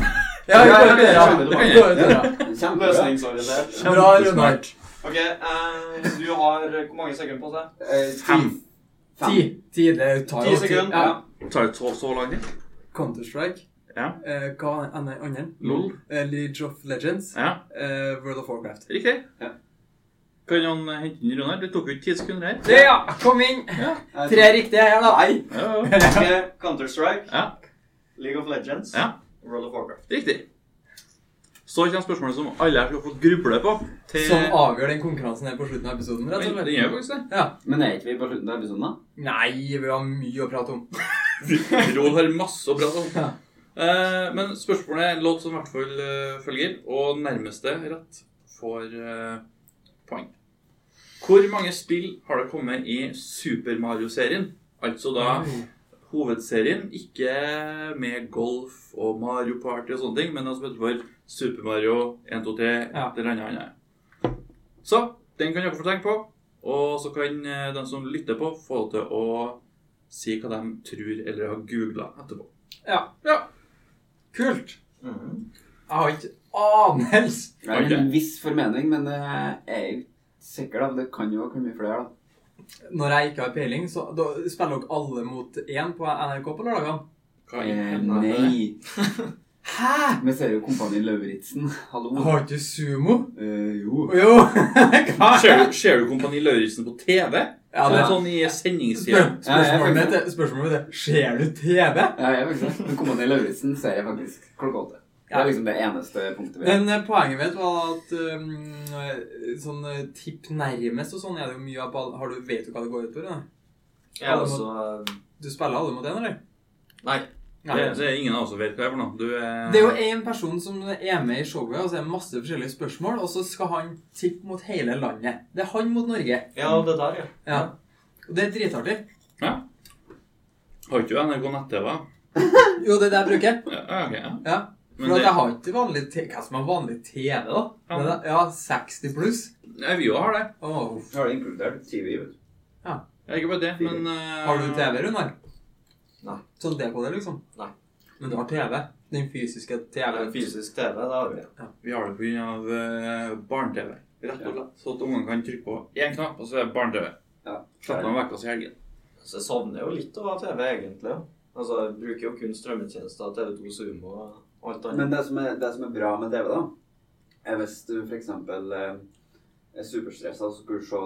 S1: Ja, vi
S2: Ja,
S1: går
S2: ja,
S1: ut døra.
S2: ja,
S1: Vi
S2: ja,
S1: går
S3: ja.
S1: ut døra.
S2: Kjempebra.
S4: Løsningsorientert.
S1: Bra, Ronald.
S4: Ok, eh, du har Hvor mange sekunder på deg?
S2: Eh, ti.
S3: Fem.
S2: Fem.
S1: Ti. Ti, det tar
S4: Ti
S1: jo tid.
S4: sekunder.
S1: Ja.
S4: Ja.
S3: Tar det så, så lang tid?
S1: Counter-Strike.
S3: Ja.
S1: Eh, hva er den andre?
S3: Lol.
S1: Eh, League of Legends.
S3: Ja,
S1: Eh, World of Warcraft.
S3: riktig.
S2: Ja.
S3: Kan han hente inn Runar? Det tok jo ikke ti sekunder her.
S1: Det, ja! Kom inn! Tre riktige her, da.
S2: Eh, Nei.
S3: Ja, ja.
S4: Ok, Counter-Strike,
S3: ja,
S4: League of Legends,
S3: Ja.
S4: World of Warcraft.
S3: riktig. Så kommer spørsmålet som alle her skal få gruble på. Til...
S1: Som avgjør den konkurransen her på slutten av episoden, rett og
S3: Men, det
S1: slett.
S3: gjør jo faktisk det.
S1: Ja.
S2: Men er ikke vi på slutten av episoden, da?
S1: Nei, vi har mye å prate om.
S3: Roald har masse å prate om.
S1: Ja.
S3: Eh, men spørsmålet er en låt som i hvert fall eh, følger, og nærmeste rett får eh, poeng. Hvor mange spill har det kommet i Super Mario-serien? Altså da hovedserien, ikke med golf og Mario Party og sånne ting, men den som heter for Super Mario 1, 2, 3,
S1: Ja.
S3: et eller annet annet. Så den kan dere få tenke på, og så kan eh, den som lytter på, få det til å si hva de tror eller har googla etterpå.
S1: Ja.
S3: Ja.
S1: Kult.
S4: Mhm.
S1: Jeg har ikke anelse.
S2: Jeg har en viss formening, men eh, jeg er ikke sikker. da, for Det kan jo komme flere, da.
S1: Når jeg ikke har peiling, så da spiller dere alle mot én på NRK på lørdagene.
S3: Hva i
S2: Eh,
S3: helvete er det?
S2: nei.
S1: Hæ?!
S2: Vi ser jo Kompani Lauritzen. Hallo.
S1: Har ikke sumo?
S2: Eh, jo.
S1: Å, Jo! Hva?
S3: Ser du, ser du Kompani Lauritzen på TV?
S1: Ja,
S3: det
S1: det
S3: er sånn i sendingstida.
S1: Spør,
S2: Ja, jeg er
S1: spørsmålet
S2: faktisk
S1: mitt er spørsmålet mitt er Ser du TV?
S2: Ja, jeg vet ikke. Men Kompani Lauritzen ser jeg faktisk klokka åtte. Det
S1: Ja.
S2: er liksom det eneste punktet vi har.
S1: Men eh, poenget mitt var at um, sånn eh, tipp nærmest og sånn er det jo mye av på alle- har du, Vet du hva det går ut på? da?
S4: Jeg er også eh,
S1: Du spiller alle mot én, eller?
S4: Nei.
S1: Nei.
S3: Det, det er ingen av oss som vet hva det er for noe. Du eh, er,
S1: Det er jo én person som er med i showet, og så er det masse forskjellige spørsmål, og så skal han tippe mot hele landet. Det er han mot Norge.
S4: Ja, det der, ja.
S1: Ja. Og det er dritartig.
S3: Har ikke du NRK nett-TV?
S1: Jo, det er det jeg bruker.
S3: Ja, ja, ok, ja.
S1: Ja.
S3: Men
S1: For at
S3: det-
S1: jeg har ikke vanlig TV. Hva som er vanlig TV, da?
S3: Ja.
S1: Det er- Ja, 60 pluss.
S3: Nei, vi jo har det.
S1: Åh.
S2: Har det inkludert TV? vet du.
S3: Ja, ikke bare det, men eh,
S1: Har du TV, Runar?
S4: Nei.
S1: Sånn dekoder, liksom?
S4: Nei.
S1: Men du har TV? Den fysiske
S4: Jeg er
S1: TV?
S4: en fysisk TV, det har vi.
S3: Vi har det pga. Uh, barne-TV. Rett og slett. Så at ungene kan trykke på én knapp, og så er det barne-TV.
S2: Ja.
S3: Slipper dem vekk oss i helgen.
S4: Så jeg savner jo litt å ha TV, egentlig. Altså, jeg bruker jo kun strømmetjenester, TV2 Sumo og alt annet.
S2: Men det som, er, det som er bra med TV, da, er hvis du f.eks. Eh, er superstressa og skulle se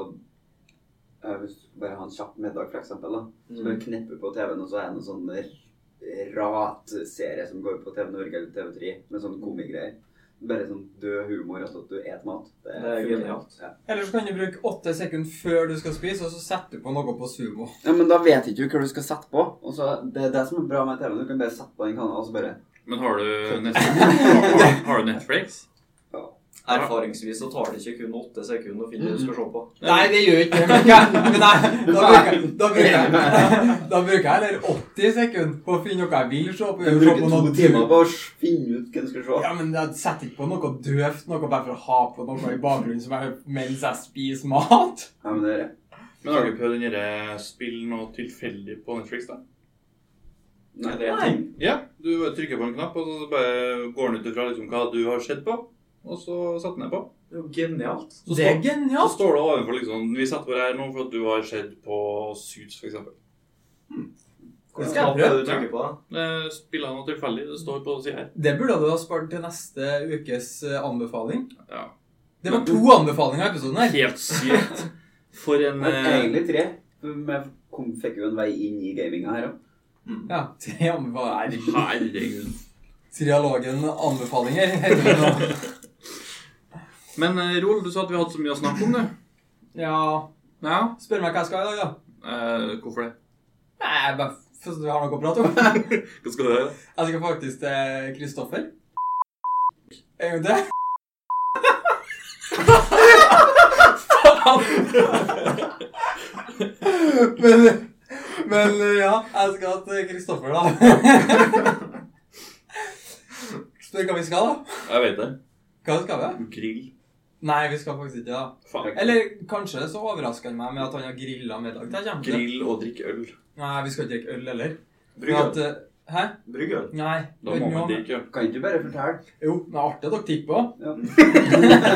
S2: eh, Hvis du bare har en kjapp middag, f.eks., da, så
S4: Mm.
S2: bare knepper på TV-en, og så er det noen sånn r- ratserie som går på TV Norge eller TV3 med sånn komigreier. Bare sånn død humor, altså at du et mat.
S4: Det er
S2: funker.
S4: genialt.
S2: Ja.
S1: Eller så kan du bruke åtte sekunder før du skal spise, og så setter du på noe på sumo.
S2: ja, Men da vet ikke du hva du skal sette på. Og så, det er det som er bra med TV-en. Du kan bare sette på en kanal, og så bare
S3: Men har du Netflix? Har, har, har du Netflix?
S4: Erfaringsvis så tar det ikke kun åtte sekunder å finne det du skal se på.
S1: Nei, det gjør ikke det. Men jeg- men jeg- da bruker jeg- da bruker jeg Da bruker jeg heller 80 sekunder på å finne noe jeg vil se på.
S2: Du
S1: Jeg vil se
S2: bruker
S1: på
S2: to
S1: noe
S2: timer
S1: døvt.
S2: på å finne ut hva du skal se.
S1: Ja, men jeg setter ikke på noe døvt, noe bare for å ha på noe i bakgrunnen som jeg, mens jeg spiser mat.
S2: Ja, men det er det.
S3: Men har du ikke prøvd den derre spill noe tilfeldig på Netflix, da?
S2: Nei.
S4: Det er ting.
S3: Ja, du bare trykker på en knapp, og så bare går den ut ifra liksom hva du har sett på, og så setter den ned på.
S4: Det er jo genialt.
S3: Så
S1: Det er
S3: står- Så
S1: genialt.
S3: står det ovenfor liksom Vi setter på det her nå for at du har sett på Suits, for eksempel.
S1: Hvordan
S4: Hvilken
S1: skal jeg
S4: knapp er det
S1: prøve?
S4: du trykker på?
S3: Eh, Spiller noe tilfeldig. Det står på sida her.
S1: Det burde du ha spart til neste ukes eh, anbefaling.
S3: Ja.
S1: Det var to anbefalinger i episoden her.
S3: Helt sykt. For en
S2: Men
S3: eh,
S2: egentlig tre. Vi kom, fikk jo en vei inn i gaminga her òg.
S1: Ja, tre anbefalinger.
S3: Herregud.
S1: Serialogen anbefalinger. heter det nå.
S3: Men eh, Rol, du sa at vi hadde så mye å snakke om, du.
S1: Ja,
S3: Ja,
S1: spør meg hva jeg skal i dag, da.
S3: eh, hvorfor det?
S1: Nei, jeg bare f- så du har noe å prate om.
S3: Hva skal du gjøre?
S1: Jeg skal faktisk til Kristoffer. En gang til. Faen! Men, men ja, jeg skal til Kristoffer, da. Spør hva vi skal, da.
S3: Jeg vet det.
S1: Hva skal vi?
S3: Grill.
S1: Nei, vi skal faktisk ikke det.
S3: Faen.
S1: Eller kanskje så overrasker han meg med at han har grilla middag. til jeg kommer til.
S3: Grill og drikke øl.
S1: Nei, vi skal ikke drikke øl heller. Men at,
S4: Bryggøl.
S1: eh, Hæ?
S4: Bryggøl.
S1: Nei.
S3: Da
S1: vet
S3: må
S1: du
S3: man
S1: om-
S3: drikke.
S2: Kan ikke du bare fortelle?
S1: Jo, men det er artig at dere tipper òg.
S2: Ja.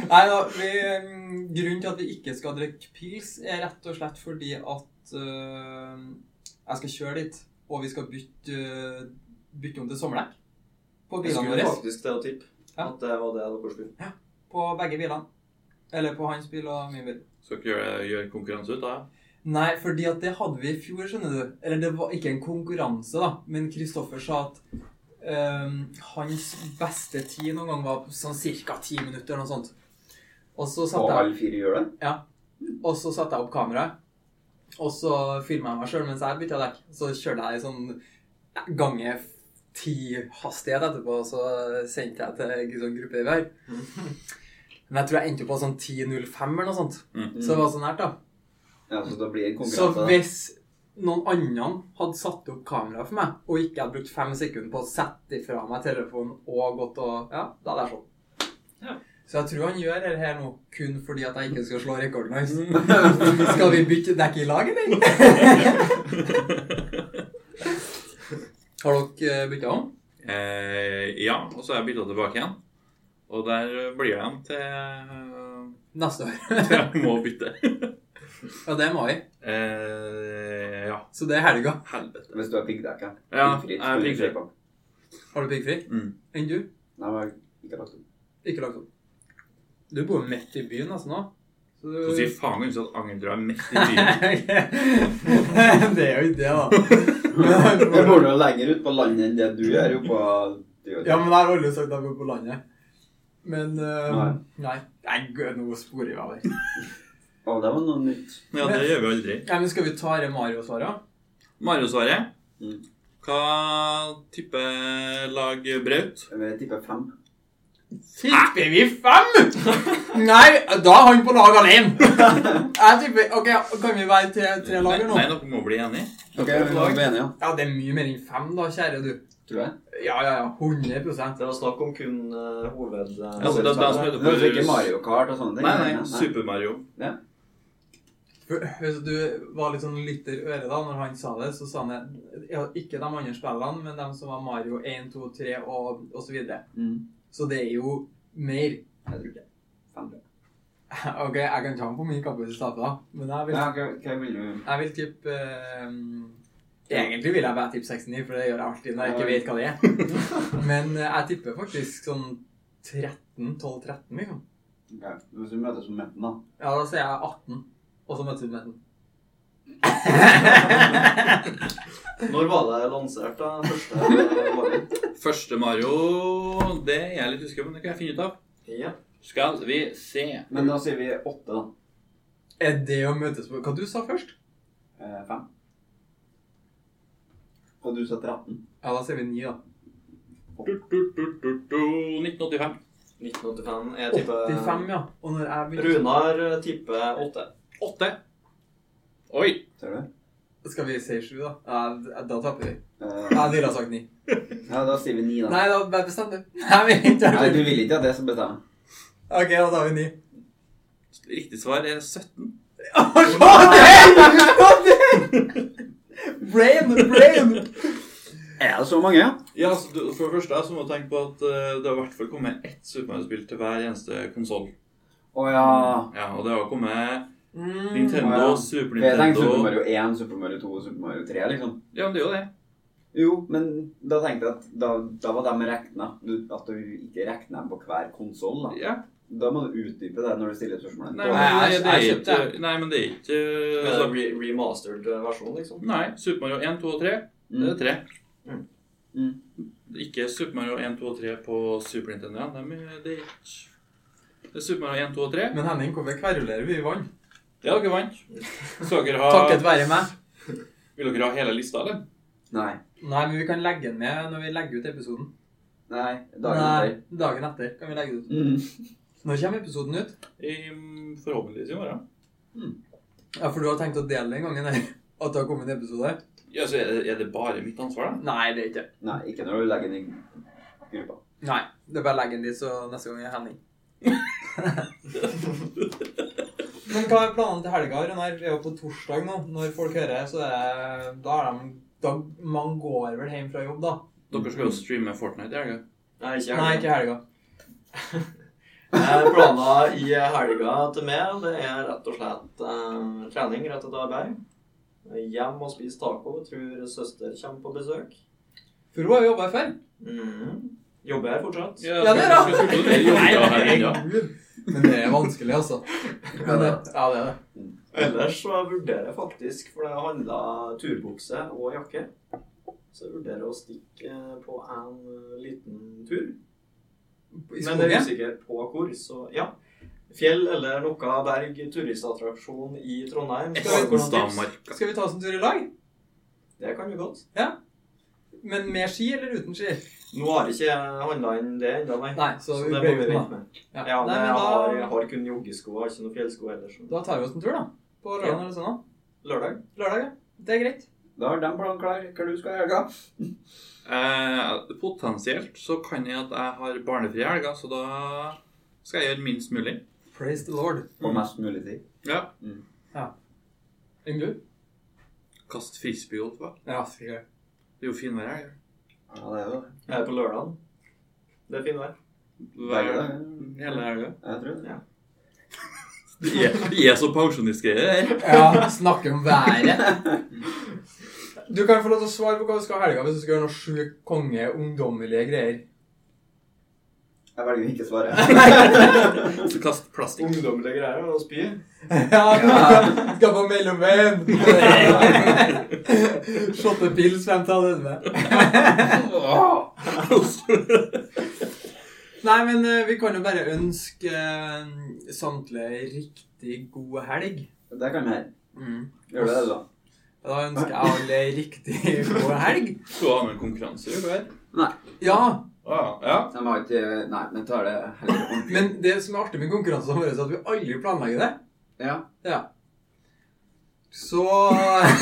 S1: Nei, da, vi, mm, grunnen til at vi ikke skal drikke pils, er rett og slett fordi at øh, jeg skal kjøre dit, og vi skal bytte, øh, bytte om til sommerdekk på
S4: Jeg
S1: bilene
S4: skulle
S1: våre.
S4: faktisk til å tippe
S1: Ja.
S4: at det var det dere skulle.
S1: På begge bilene. Eller på hans bil og min bil.
S3: Skal ikke gjøre, gjøre en konkurranse ut av det?
S1: Nei, fordi at det hadde vi i fjor, skjønner du. Eller det var ikke en konkurranse, da. Men Kristoffer sa at ehm, hans beste tid noen gang var på sånn ca. ti minutter eller noe sånt. Og så
S2: På
S1: satte jeg,
S2: alle fire hjul?
S1: og så satte jeg opp kameraet, og så filma jeg meg sjøl mens jeg bytta dekk. Så kjørte jeg i sånn gange ti-hastighet etterpå, og så sendte jeg til en sånn gruppe i vei. Men jeg tror jeg endte på sånn 10.05 eller noe sånt.
S3: Mm.
S1: Så det var så nært, da.
S2: Ja, så da blir det en
S1: Så
S2: konkurranse. da.
S1: hvis noen annen hadde satt opp kameraet for meg, og ikke hadde brukt fem sekunder på å sette ifra meg telefonen og gått og Ja, da hadde jeg sånn.
S4: Ja.
S1: Så jeg tror han gjør det her nå kun fordi at jeg ikke skal slå rekorden hans.
S2: Mm.
S1: Skal vi bytte dekk i lag, eller? Har dere bytta om?
S3: Eh, ja, og så har jeg bytta tilbake igjen. Og der blir jeg igjen til eh,
S1: Neste år.
S3: til jeg må bytte.
S1: Ja, det er mai,
S3: Eh, ja.
S1: så det er helga.
S3: Helvete.
S2: Hvis du har piggdekk, ja.
S3: Ja,
S2: Piggfritt,
S3: jeg er
S2: skulle du
S3: piggfri.
S2: si på.
S1: Har du piggfri?
S3: Mm.
S1: Enn du?
S2: Nei, men ikke lagt opp.
S1: Ikke lagt opp. Du bor jo midt i byen nesten nå. Så du-
S3: Så sier faen ikke at Angeldra er mest i byen.
S1: det er jo ikke det, da.
S2: Jeg bor nå lenger ut på landet enn det du gjør. jo på... Du gjør
S1: ja, men jeg har aldri sagt at jeg bor på landet. Men eh,
S2: Nei.
S1: Nei. Nei, gud, nå sporer vi av her.
S2: Å, det var noe nytt.
S3: Ja, det gjør vi aldri.
S1: Ja, men skal vi ta det Mario-svaret?
S3: Mario-svaret.
S2: Mm.
S3: Hva type lag Braut?
S2: Jeg tipper fem.
S1: Tipper vi fem?! Nei, da er han på lag alene! Jeg tipper Ok, kan vi være tre, tre lag her nå?
S3: Nei, nei, dere må bli enige.
S2: Ok, vi var enige, ja.
S1: Ja, det er mye mer enn fem, da, kjære du.
S2: Tror jeg.
S1: Ja, ja, ja. 100
S4: Det var snakk om kun uh, hoved... eh,
S3: Altså, det er de som
S2: Det
S3: heter
S2: var ikke
S3: for-
S2: Mario Kart og sånne ting.
S3: Nei, nei, Super Mario.
S1: For- Hvis du var litt sånn lytter øre da når han sa det, så sa han det ja, Ikke de andre spillene, men de som var Mario 1, 2, 3 og, og så videre.
S2: Mm.
S1: Så det er jo mer.
S2: Jeg tror ikke. Fem.
S1: OK, jeg kan ta den på min kappe hvis du taper, da. Men jeg vil,
S2: Ja, hva, hva vil du
S1: jeg vil tippe eh, Egentlig vil jeg bare tippe 69, for det gjør jeg alltid når jeg ikke vet hva det er. Men eh, jeg tipper faktisk sånn 13, 12-13, liksom.
S2: Ok, Hvis du møtes på midten, da.
S1: Ja, da sier jeg 18. Og så møtes vi på
S4: Når var det lansert, da? Første eh, Mario?
S3: Første Mario Det er jeg litt usikker på, men det kan jeg finne ut av.
S4: Ja.
S3: Skal vi se
S2: Men da sier vi åtte, da.
S1: Er det å møtes på Hva du sa først?
S2: Eh, fem. Og du sa 13.
S1: Ja, da sier vi 9, da.
S3: du, du, du, du, du, 1985.
S4: 1985. Jeg tipper
S1: 85, ja. Og når jeg begynte
S4: Runar eh, tipper åtte.
S3: 8. Oi.
S2: Ser du?
S1: Skal vi si 7, da? Ja, da taper vi.
S2: Eh,
S1: Jeg ville ha sagt 9.
S2: ja, da sier vi 9, da.
S1: Nei, da bare bestem du. Nei, vi ikke
S2: Nei, du vil ikke at det skal bestemme.
S1: Ok, da tar vi 9.
S3: Riktig svar er 17.
S1: Brain, brain!
S2: Er det så mange? ja?
S3: Ja, altså, du- For det første så må du tenke på at eh, det har i hvert fall kommet ett Super Mario-spill til hver eneste konsoll.
S2: Å ja.
S3: Ja, og det har kommet
S1: Mm.
S3: Nintendo,
S2: Ah, ja.
S3: Super
S2: For jeg tenkte Super
S3: Nintendo
S2: Mario 1, Super Mario 2 og Super Mario 3, liksom.
S3: Ja, men det er jo det.
S2: Jo, men da tenkte jeg at da, da var de regna. At du ikke regner dem på hver konsoll, da.
S3: Ja.
S2: Da må du utdype det når du stiller spørsmålet.
S3: Nei,
S1: Nei,
S3: men det,
S1: jeg-
S3: det er
S1: jeg
S3: ikke
S1: kjøpte
S3: Nei, men det er ikke
S4: Med
S3: altså,
S4: sånn re remastered versjon, liksom.
S3: Nei. Super Mario 1, 2 og 3,
S2: Mm.
S3: det er 3.
S2: Mm.
S3: Ikke Super Mario 1, 2 og 3 på Super Nintendo. Ja. Nei, men det er ikke Det er Super Mario 1, 2 og 3.
S1: Men Henning, hvorfor kverulerer vi i vann?
S3: Ja, dere vant. Så dere
S1: Takket
S3: har
S1: være meg.
S3: Vil dere ha hele lista, eller?
S2: Nei.
S1: Nei, men vi kan legge den med når vi legger ut episoden.
S2: Nei. Dagen etter.
S1: Nei, dagen etter kan vi legge det ut.
S2: Mm.
S1: Når kommer episoden ut?
S3: I, mm, forhåpentligvis i morgen.
S1: Ja, For du har tenkt å dele den gangen her? At det har kommet en episode?
S3: Ja, så er det, er det bare mitt ansvar, da?
S1: Nei, det er ikke
S2: Nei, ikke når du legger den i gruppa.
S1: Nei, det er bare å legge den dit, så neste gang er Henning. Men hva er planene til helga? Runar? Vi er jo på torsdag nå. Når folk hører, så er da er de da, Man går vel hjem fra jobb, da?
S3: Dere skal jo streame Fortnite i helga.
S4: Nei, ikke
S1: Nei, ikke i helga.
S4: Eh, Planer i helga til meg, det er rett og slett eh, trening rett etter arbeid. Eh, Hjem og spise taco. Tror søster kommer på besøk.
S1: For hun har jo jobba før.
S4: Mhm. Jobber her fortsatt.
S1: Ja, det er bra.
S3: Skal, skal, skal, skal, skal,
S1: Herregud. Men det er vanskelig, altså. Men det, ja, det er det.
S4: Ellers så vurderer jeg faktisk, for det handla turbukse og jakke, så jeg vurderer å stikke eh, på en liten tur.
S1: I
S4: Men jeg er
S1: skogen?
S4: usikker på hvor, så ja. Fjell eller noe berg, turistattraksjon i Trondheim. Skal vi-
S3: Estenstadmarka.
S1: Skal vi ta oss en tur i lag?
S4: Det kan vi godt.
S1: Men med ski eller uten ski?
S4: Nå har ikke jeg handla inn det ennå, nei.
S1: Nei, så
S4: Så
S1: vi
S4: det må vi
S1: bøyer den, da.
S4: vente med.
S1: Ja,
S4: Ja, men
S1: Nei,
S4: jeg har, jeg
S1: men da,
S4: har kun joggesko, jeg har ikke noen fjellsko ellers.
S1: da tar vi oss en tur, da. På lørdag
S4: Ja.
S1: eller søndag.
S4: Lørdag?
S1: Lørdag, ja. Det er greit.
S2: Da har de planen klar. Hva du skal i helga?
S3: Eh, potensielt så kan jeg at jeg har barnefrie helger, så da skal jeg gjøre minst mulig.
S1: Praise the lord.
S2: På mest mulig tid.
S3: Ja.
S1: Enn du?
S3: Kaste frisbeegolf, hva?
S1: Ja, sikkert.
S3: Det er jo finvær i helga.
S2: Ja, det er jo det.
S4: Jeg er på lørdagen. Det er fin vær.
S3: Hver-
S2: Ja,
S3: Hele helga.
S2: Jeg tror det.
S3: Det er, det er så pensjonistgreier, det her.
S1: Ja, snakke om været. Du kan få lov til å svare på hva du skal i helga hvis du skal gjøre noe sjukt konge, ungdommelige greier.
S2: Jeg velger å ikke svare.
S3: Så Kast plastikk.
S4: Ungdommelige greier og spy.
S1: Ja, skal på mellomveien. Shotte pils frem til elleve. Nei, men eh, vi kan jo bare ønske eh, samtlige riktig god helg.
S2: Det kan vi gjøre.
S1: Mm.
S2: Gjør det, du, da.
S1: Da ønsker jeg alle riktig god helg.
S3: Skal du ha med en konkurranse i hver?
S1: Ja,
S3: Ah, ja.
S2: De har ikke Nei, men tar det heller ordentlig.
S1: men det som er artig med konkurransene våre, er at vi aldri planlegger det.
S2: Ja.
S1: Ja. Så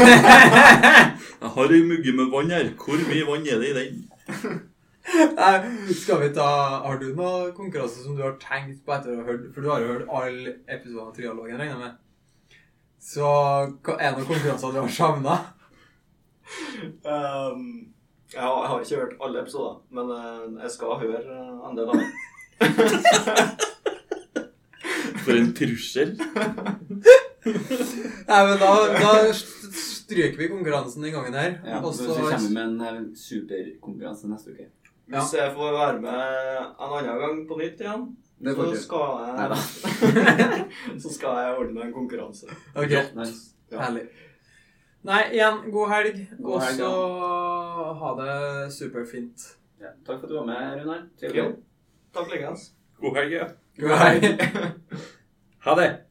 S3: Jeg har ei mugge med vann her. Hvor mye vann er det i den?
S1: Nei, Skal vi ta Har du noen konkurranse som du har tenkt på etter å ha hørt For du har jo hørt alle episodene av Trialogen, regner jeg med. Så hva er det noen konkurranser du har savna?
S4: Ehm, jeg, har, jeg har ikke hørt alle episoder, men eh, jeg skal høre eh, en del av dem.
S3: For en trussel.
S1: Nei, men da, da st- stryker vi konkurransen den gangen her.
S2: ja.
S1: og
S2: Så
S1: så
S2: kommer vi med en eh, superkonkurranse neste uke.
S4: Hvis jeg får være med en annen gang på nytt igjen,
S2: Det
S4: så
S2: får du.
S4: skal
S2: Neida.
S4: jeg Så skal jeg ordne en konkurranse.
S1: Ok,
S2: Nice.
S4: Ja.
S1: herlig. Nei, igjen, god helg.
S2: God
S1: Og
S2: helg,
S1: så ha det superfint.
S2: Ja. Takk for at du var med, Runar.
S4: Jo, takk likeens.
S3: God helg. ja.
S1: God helg.
S3: Ha det.